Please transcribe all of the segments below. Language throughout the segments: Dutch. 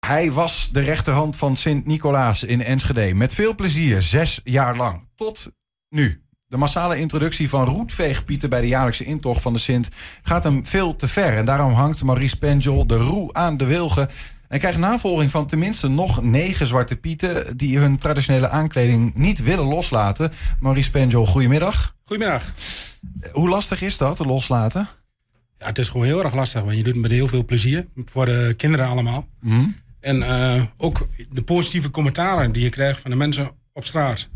Hij was de rechterhand van Sint-Nicolaas in Enschede. Met veel plezier, zes jaar lang. Tot nu. De massale introductie van roetveegpieten bij de jaarlijkse intocht van de Sint gaat hem veel te ver. En daarom hangt Maurice Penjol de roe aan de wilgen. En krijgt navolging van tenminste nog negen zwarte pieten die hun traditionele aankleding niet willen loslaten. Maurice Penjol, goedemiddag. Goedemiddag. Hoe lastig is dat, loslaten? Ja, het is gewoon heel erg lastig, want je doet het met heel veel plezier. Voor de kinderen allemaal. Mhm. En eh, ook de positieve commentaren die je krijgt van de mensen op straat.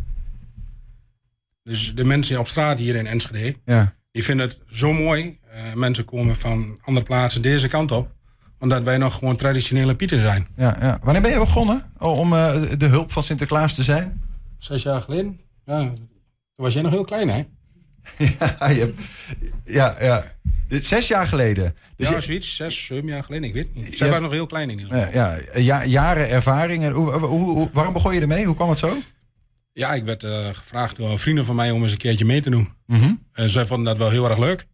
Dus de mensen op straat hier in Enschede, Ja. die vinden het zo mooi. Eh, mensen komen van andere plaatsen deze kant op. Omdat wij nog gewoon traditionele pieten zijn. Ja, ja. Wanneer ben je begonnen O, om eh, de hulp van Sinterklaas te zijn? Zes jaar geleden? Ja, toen was jij nog heel klein, hè? ja, je hebt- ja, ja. Dit is zes jaar geleden. Dus ja, je- zoiets. Zes, zeven jaar geleden, ik weet niet. Zij Ja. waren nog heel klein in ieder geval. ja, ja, ja, jaren ervaring. En hoe, hoe, hoe- waarom begon je ermee? Hoe kwam het zo? Ja, ik werd eh, gevraagd door vrienden van mij om eens een keertje mee te doen. Mhm. En zij vonden dat wel heel erg leuk.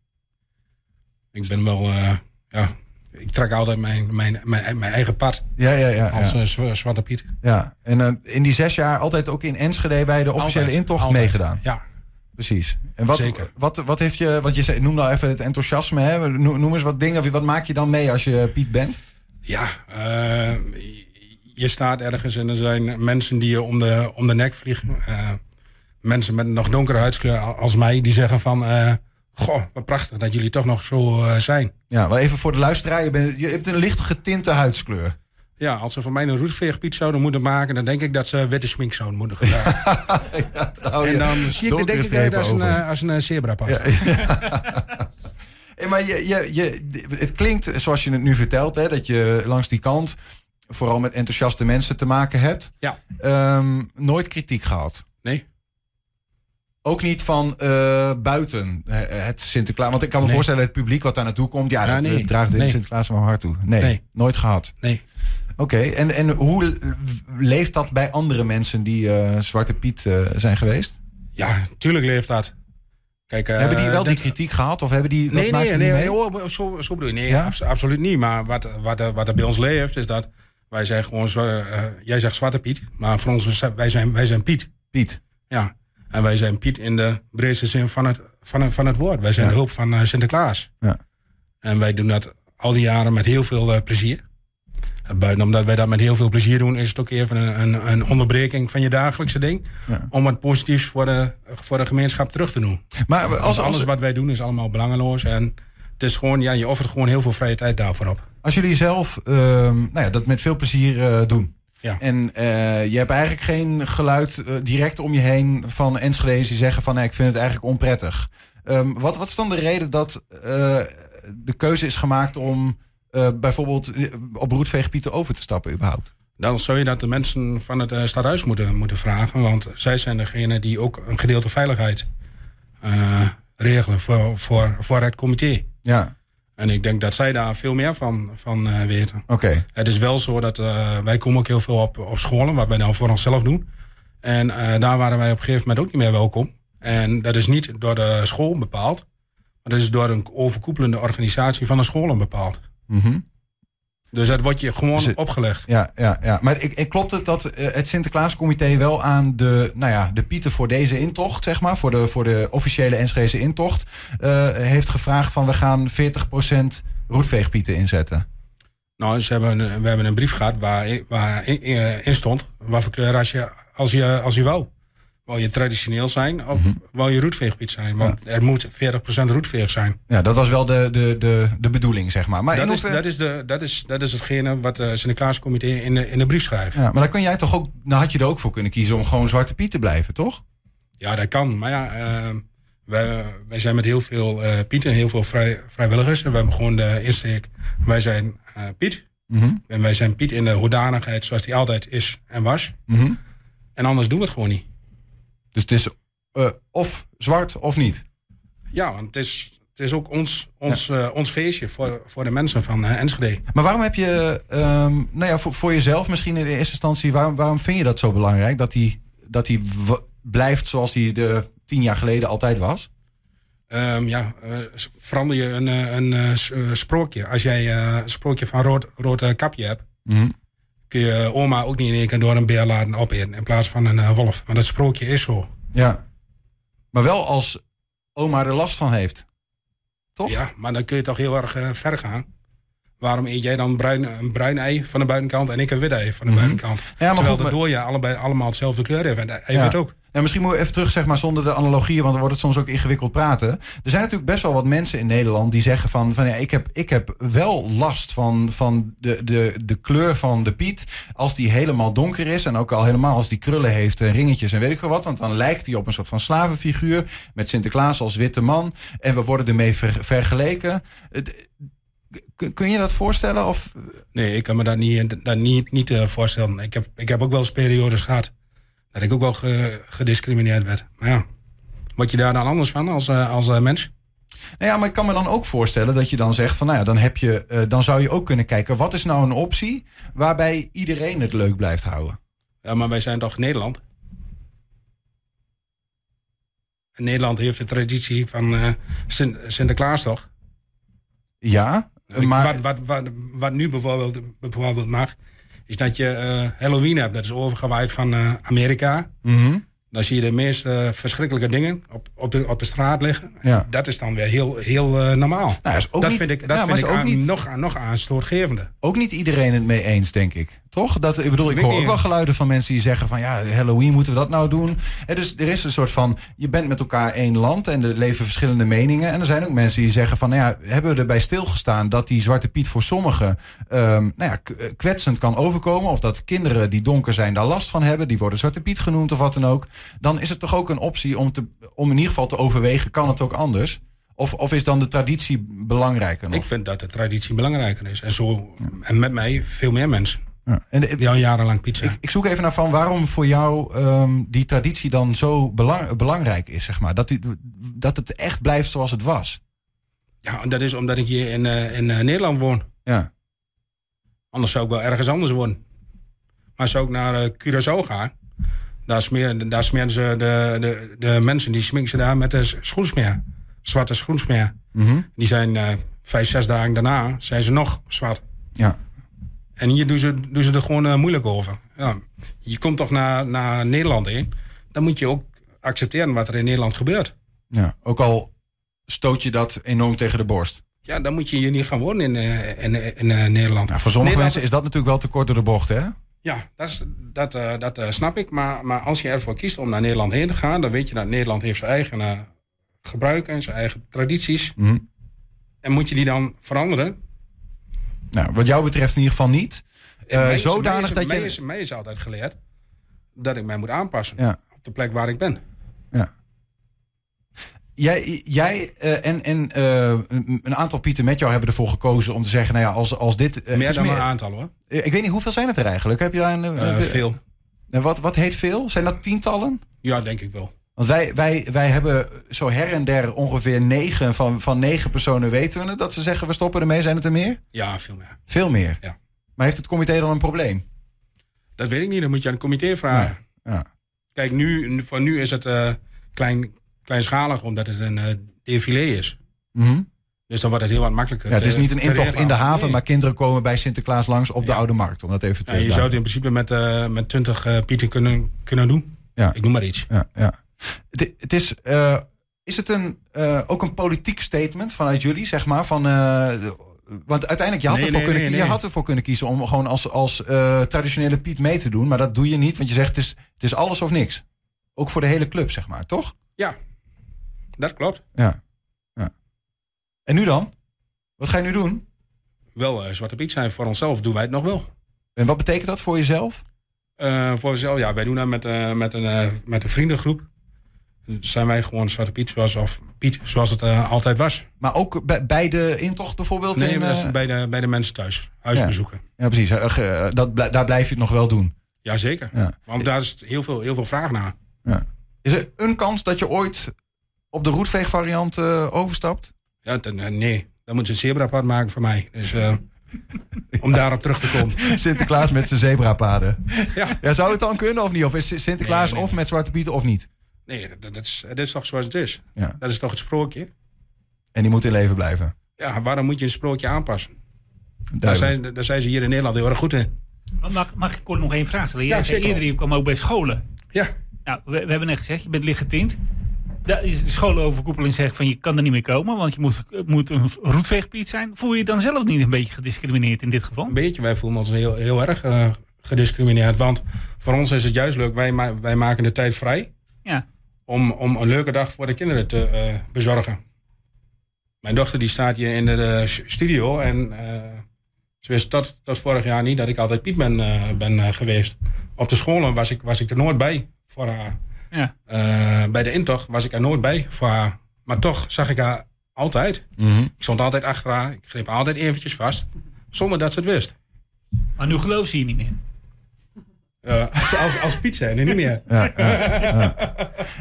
Ik ben wel, eh, ja, ik trek altijd mijn, mijn, mijn, mijn eigen pad Ja, ja, ja. als ja. eh, zwa- Zwarte Piet. ja. En eh, in die zes jaar altijd ook in Enschede bij de officiële Altijd, intocht altijd. meegedaan. Ja. Precies. En wat, Zeker. wat, wat heeft je, want je zei- noem nou even het enthousiasme, hè? Noem, noem eens wat dingen. Wat maak je dan mee als je eh, Piet bent? Ja, eh, je staat ergens en er zijn mensen die je om de, om de nek vliegen. Eh, mensen met een nog donkere huidskleur a- als mij, die zeggen van... eh, goh, wat prachtig dat jullie toch nog zo eh, zijn. Ja, wel even voor de luisteraar. Je, bent, je hebt een licht getinte huidskleur. Ja, als ze van mij een roetveegpiet zouden moeten maken... dan denk ik dat ze witte smink zouden moeten gebruiken. Oh Ja, trouw En je dan zie ik donkere het denk ik strepen uit als een, over. eh, als een eh, zebrapad. Ja. Hey, maar je, je, je, het klinkt zoals je het nu vertelt, hè, dat je langs die kant vooral met enthousiaste mensen te maken hebt. Ehm, nooit kritiek gehad. Nee? Ook niet van eh, buiten eh, het Sinterklaas. Want ik kan me Nee. voorstellen, het publiek wat daar naartoe komt, ja, Ja, dat nee. eh, draagt de Nee. Sinterklaas wel hard toe. Nee, Nee. nooit gehad. Nee. Oké, en, en hoe leeft dat bij andere mensen die eh, Zwarte Piet eh, zijn geweest? Ja, tuurlijk leeft dat. Kijk, eh, hebben die wel dat- die kritiek gehad? Of hebben die, dat Nee, maakt nee, het nee, niet nee mee? hoor, zo, zo bedoel je. Nee, Ja? abs- absoluut niet. Maar wat, wat, er- wat er bij ons leeft, is dat wij zijn gewoon... Zo, eh, jij zegt Zwarte Piet, maar voor ons, is dat- wij zijn, wij zijn Piet. Piet. Ja. En wij zijn Piet in de breedste zin van het, van het, van het woord. Wij zijn Ja. de hulp van eh, Sinterklaas. Ja. En wij doen dat al die jaren met heel veel eh, plezier. En buiten omdat wij dat met heel veel plezier doen, is het ook even een, een, een onderbreking van je dagelijkse ding. Ja. Om wat positiefs voor de, voor de gemeenschap terug te doen. Maar als, Als, als, alles wat wij doen is allemaal belangeloos. En het is gewoon, ja, je offert gewoon heel veel vrije tijd daarvoor op. Als jullie zelf ehm, nou ja, dat met veel plezier eh, doen. Ja. En eh, je hebt eigenlijk geen geluid eh, direct om je heen van Enschede's die zeggen van nee, ik vind het eigenlijk onprettig. Ehm, wat, wat is dan de reden dat eh, de keuze is gemaakt om eh, bijvoorbeeld eh, op roetveegpieten over te stappen überhaupt? Dan zou je dat de mensen van het eh, stadhuis moeten, moeten vragen. Want zij zijn degene die ook een gedeelte veiligheid eh, regelen voor, voor, voor het comité. Ja, En ik denk dat zij daar veel meer van, van eh, weten. oké. Het is wel zo dat eh, wij komen ook heel veel op, op scholen, wat wij nou voor onszelf doen. En eh, daar waren wij op een gegeven moment ook niet meer welkom. En dat is niet door de school bepaald, maar dat is door een overkoepelende organisatie van de scholen bepaald. Mhm. Dus dat wordt je gewoon Dus het- opgelegd. Ja, ja, ja. Maar ik, ik, klopt het dat eh, het Sinterklaascomité wel aan de, nou ja, de pieten voor deze intocht, zeg maar, voor de, voor de officiële Enschedese intocht, eh, heeft gevraagd van we gaan 40% roetveegpieten inzetten. Nou, ze hebben, een- we hebben een brief gehad waar, waar in, in- in stond wat voor kleur als je, als je, als je wou. Wou je traditioneel zijn of wou je roetveegpiet zijn? Want er moet 40% roetveeg zijn. Ja, dat was wel de, de, de, de bedoeling, zeg maar. Maar, in Dat is, hoeverre- dat, is de, dat, is, dat is hetgene wat het Sinterklaascomité in de, in de brief schrijft. ja, maar dan kun jij toch ook, nou had je er ook voor kunnen kiezen om gewoon Zwarte Piet te blijven, toch? Ja, dat kan. Maar ja, ehm, wij, wij zijn met heel veel eh, Piet en heel veel vrij, vrijwilligers. En we hebben gewoon de insteek. Wij zijn eh, Piet. Mhm. En wij zijn Piet in de hoedanigheid zoals die altijd is en was. Mhm. En anders doen we het gewoon niet. Dus het is eh, of zwart of niet. Ja, want het is, het is ook ons, ons, eh, ons feestje voor, voor de mensen van eh, Enschede. Maar waarom heb je, ehm, nou ja, voor, voor jezelf misschien in de eerste instantie, waarom, waarom vind je dat zo belangrijk? Dat die, dat die w- blijft zoals die de tien jaar geleden altijd was? Ehm, ja, eh, s- verander je een, eh, een eh, s- eh, sprookje. Als jij eh, een sprookje van rood, rood eh, kapje hebt, kun kun je oma ook niet in één keer door een beer laten opeten in plaats van een eh, wolf. Maar dat sprookje is zo. Ja. Maar wel als oma er last van heeft. Toch? Ja, maar dan kun je toch heel erg eh, ver gaan. Waarom eet jij dan een bruin, eh, een bruin ei van de buitenkant en ik een wit ei van de buitenkant? Mhm. maar goed, Terwijl de maar- dooie allebei allemaal hetzelfde kleur heeft. En hij Ja. weet ook. En misschien moet je even terug, zeg maar, zonder de analogieën, want dan wordt het soms ook ingewikkeld praten. Er zijn natuurlijk best wel wat mensen in Nederland die zeggen van, van ja, ik heb, ik heb wel last van, van de, de, de kleur van de Piet. Als die helemaal donker is en ook al helemaal als die krullen heeft en ringetjes en weet ik veel wat. Want dan lijkt hij op een soort van slavenfiguur met Sinterklaas als witte man. En we worden ermee ver- vergeleken. Het- k- Kun je dat voorstellen? Of, Nee, ik kan me dat niet, dat niet, niet eh, voorstellen. Ik heb, ik heb ook wel eens periodes gehad dat ik ook wel ge- gediscrimineerd werd. Maar ja, word je daar dan anders van als, eh, als eh, mens? Nou ja, maar ik kan me dan ook voorstellen dat je dan zegt van nou ja, dan, heb je, eh, dan zou je ook kunnen kijken wat is nou een optie waarbij iedereen het leuk blijft houden. Ja, maar wij zijn toch Nederland? En Nederland heeft de traditie van eh, Sin- Sinterklaas toch? Ja, Eh, maar wat, wat, wat, wat nu bijvoorbeeld, bijvoorbeeld mag, is dat je eh, Halloween hebt. Dat is overgewaaid van eh, Amerika. mhm, Dan zie je de meest eh, verschrikkelijke dingen op, op, de, op de straat liggen. Ja. Dat is dan weer heel, heel eh, normaal. Nou, is ook dat niet- vind ik, dat nou, maar vind is ik ook aan- niet- nog, aan- nog aanstootgevende. ook niet iedereen het mee eens, denk ik. Toch? Dat, ik bedoel, ik Weet hoor niet. ook wel geluiden van mensen die zeggen van ja, Halloween moeten we dat nou doen. Hè, dus er is een soort van, je bent met elkaar één land en er leven verschillende meningen. En er zijn ook mensen die zeggen van nou ja, hebben we erbij stilgestaan dat die Zwarte Piet voor sommigen ehm, nou ja, k- eh, kwetsend kan overkomen. Of dat kinderen die donker zijn daar last van hebben, die worden Zwarte Piet genoemd of wat dan ook. Dan is het toch ook een optie om, te, om in ieder geval te overwegen, kan het ook anders? Of, of is dan de traditie belangrijker nog? Ik vind dat de traditie belangrijker is. En, zo, en met mij veel meer mensen Ja. En de- die al jarenlang pizza. Ik, ik zoek even naar van waarom voor jou ehm, die traditie dan zo belang- belangrijk is, zeg maar. Dat, die, dat het echt blijft zoals het was. Ja, en dat is omdat ik hier in, eh, in eh, Nederland woon. Ja. Anders zou ik wel ergens anders wonen. Maar zou ik naar eh, Curaçao gaan, daar, smeer, daar smeren ze de, de, de mensen, die sminken ze daar met de s- schoensmeer. Zwarte schoensmeer. Mhm. Die zijn eh, vijf, zes dagen daarna zijn ze nog zwart. ja. En hier doen ze, doen ze er gewoon eh, moeilijk over. Ja. Je komt toch naar, naar Nederland in, dan moet je ook accepteren wat er in Nederland gebeurt. ja. Ook al stoot je dat enorm tegen de borst. Ja, dan moet je hier niet gaan wonen in, eh, in, eh, in, eh, Nederland. Nou, voor sommige Nederland- mensen is dat natuurlijk wel te kort door de bocht, hè? Ja, dat, is, dat, eh, dat eh, snap ik. Maar, maar als je ervoor kiest om naar Nederland heen te gaan, dan weet je dat Nederland heeft zijn eigen eh, gebruiken en zijn eigen tradities. Mhm. En moet je die dan veranderen? Nou, wat jou betreft in ieder geval niet. Eh, Mij is- zodanig mij is- dat mij je... Is, mij is altijd geleerd dat ik mij moet aanpassen Ja. op de plek waar ik ben. Ja. Jij, jij eh, en, en eh, een een aantal Pieten met jou hebben ervoor gekozen om te zeggen... nou ja, als, als dit... eh, het meer is dan een aantal hoor. Eh, Ik weet niet, hoeveel zijn het er eigenlijk? Heb je daar een... Eh, eh, veel. En wat, wat heet veel? Zijn dat tientallen? Ja, denk ik wel. Want wij, wij, wij hebben zo her en der ongeveer negen van, van negen personen weten we het. Dat ze zeggen we stoppen ermee. Zijn het er meer? Ja, veel meer. Veel meer. Ja. Maar heeft het comité dan een probleem? Dat weet ik niet, dat moet je aan het comité vragen. Ja. Kijk, nu, voor nu is het eh, klein, kleinschalig omdat het een eh défilé is. Mhm. Dus dan wordt het heel wat makkelijker. ja, het is te- niet een te intocht in de regelen. haven, Nee. maar kinderen komen bij Sinterklaas langs op de Oude Markt. Om dat even te Ja, je duiden. zou het in principe met, eh met 20 eh, pieten kunnen, kunnen doen. Ja. Ik noem maar iets. ja, ja. Het, het is, eh, is het een, eh, ook een politiek statement vanuit jullie, zeg maar? Van, eh, want uiteindelijk, je had, Nee, ervoor nee, kunnen, nee, kie- nee. je had ervoor kunnen kiezen om gewoon als, als eh, traditionele Piet mee te doen. Maar dat doe je niet, want je zegt het is, het is alles of niks. Ook voor de hele club, zeg maar, toch? Ja, dat klopt. Ja. ja. En nu dan? Wat ga je nu doen? Wel eh, Zwarte Piet zijn voor onszelf, doen wij het nog wel. En wat betekent dat voor jezelf? Eh, voor onszelf, ja, wij doen dat met, eh, met, een, eh, met een vriendengroep. Dan Zijn wij gewoon Zwarte Piet zoals, of Piet zoals het eh, altijd was. Maar ook bij, bij de intocht bijvoorbeeld? Nee, in, maar dat is eh, bij, de, bij de mensen thuis. Huisbezoeken. Ja, precies. Eh, ge- dat, bl- daar blijf je het nog wel doen. Jazeker. Ja. Want daar is heel veel, heel veel vraag naar. Ja. Is er een kans dat je ooit op de roetveegvariant eh, overstapt? Ja, ten- eh, nee, dan moeten ze een zebrapad maken voor mij. Dus, eh, Om daarop terug te komen. Sinterklaas met zijn zebrapaden. Ja. Ja, zou het dan kunnen of niet? Of is Sinterklaas Nee, nee, of met Zwarte Pieten of niet? Nee, dat, dat is, dat is toch zoals het is. Ja. Dat is toch het sprookje. En die moet in leven blijven. Ja, waarom moet je een sprookje aanpassen? Daar Duidelijk. zijn, daar zijn ze hier in Nederland heel erg goed in. Mag, mag ik kort nog één vraag stellen? Jij Ja, zei zeker. eerder, je kwam ook bij scholen. Ja, Nou, we, we hebben net gezegd, je bent lichtgetint. Daar is de scholenoverkoepeling zegt van je kan er niet meer komen, want je moet, het moet een roetveegpiet zijn. Voel je je dan zelf niet een beetje gediscrimineerd in dit geval? een beetje. Wij voelen ons heel, heel erg eh, gediscrimineerd. Want voor ons is het juist leuk. Wij, ma- wij maken de tijd vrij Ja. om, om een leuke dag voor de kinderen te eh, bezorgen. Mijn dochter die staat hier in de eh, s- studio. En eh, ze wist tot, tot vorig jaar niet dat ik altijd Piet ben, eh, ben eh, geweest. Op de scholen was ik, was ik er nooit bij voor haar. Ja. Eh, bij de intocht was ik er nooit bij voor haar. Maar toch zag ik haar altijd. Mhm. Ik stond altijd achter haar. Ik greep haar altijd eventjes vast. Zonder dat ze het wist. Maar nu geloof ze je niet meer. Eh, als, als, als Piet zijn, niet meer. Ja, ja, ja.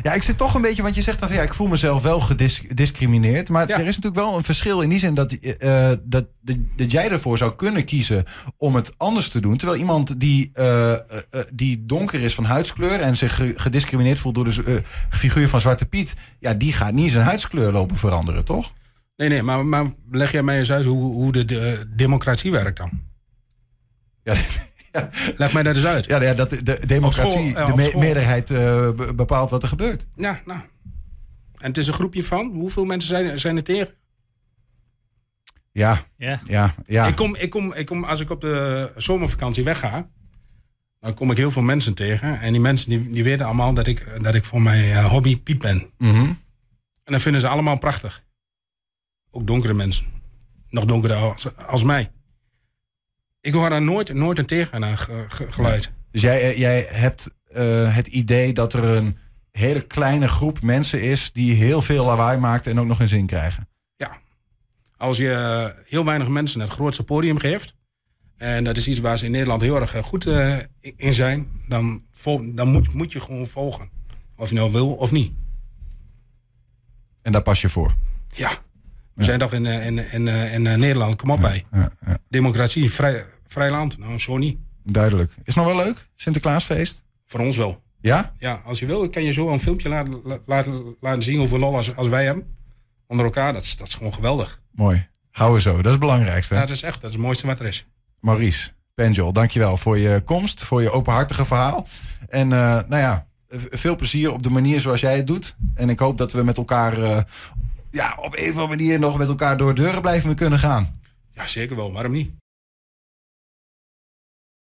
ja, ik zit toch een beetje, want je zegt dan van ja, ik voel mezelf wel gediscrimineerd. Maar Ja. er is natuurlijk wel een verschil in die zin dat, eh, eh, dat, dat, dat jij ervoor zou kunnen kiezen om het anders te doen. Terwijl iemand die, eh, eh, eh, die donker is van huidskleur en zich ge- gediscrimineerd voelt door de z- eh, figuur van Zwarte Piet, ja, die gaat niet zijn huidskleur lopen veranderen, toch? Nee, nee, maar, maar leg jij mij eens uit hoe, hoe de, de democratie werkt dan? Ja, Leg mij dat eens uit. ja, ja dat de- de democratie, ja, de op me- school. meerderheid eh, be- bepaalt wat er gebeurt. Ja, nou. En het is een groepje van? Hoeveel mensen zijn, zijn er tegen? Ja, Ja. ja, ja. Ik kom, ik kom, ik kom, als ik op de zomervakantie wegga, dan kom ik heel veel mensen tegen. En die mensen die, die weten allemaal dat ik, dat ik voor mijn eh, hobby Piet ben. Mhm. En dat vinden ze allemaal prachtig. Ook donkere mensen. Nog donkerder als, als mij. Ik hoor daar nooit, nooit een tegen geluid. Dus jij, eh, jij hebt eh, het idee dat er een hele kleine groep mensen is die heel veel lawaai maakt en ook nog een zin krijgen. Als je eh, heel weinig mensen het grootste podium geeft. En dat is iets waar ze in Nederland heel erg eh, goed eh, in zijn. Dan, vol- dan moet, moet je gewoon volgen. Of je nou wil of niet. En daar pas je voor. Ja. We zijn toch in, eh, in, in, eh, in eh, Nederland. Kom op bij. Ja, ja, Democratie, vrij, vrij land. Nou, zo niet. duidelijk. Is nog wel leuk? Sinterklaasfeest? Voor ons wel. Ja? Ja, als je wil, kan je zo een filmpje laten, la- laten, laten zien hoeveel lol als, als wij hebben. Onder elkaar, dat is, dat is gewoon geweldig. Mooi. Houden zo. Dat is het belangrijkste. Ja, dat is echt, dat is het mooiste wat er is. Maurice, Penjol, dankjewel voor je komst, voor je openhartige verhaal. En eh, nou ja, v- veel plezier op de manier zoals jij het doet. En ik hoop dat we met elkaar eh, ja, op een of andere manier nog met elkaar door deuren blijven kunnen gaan. Ja, zeker wel, waarom niet?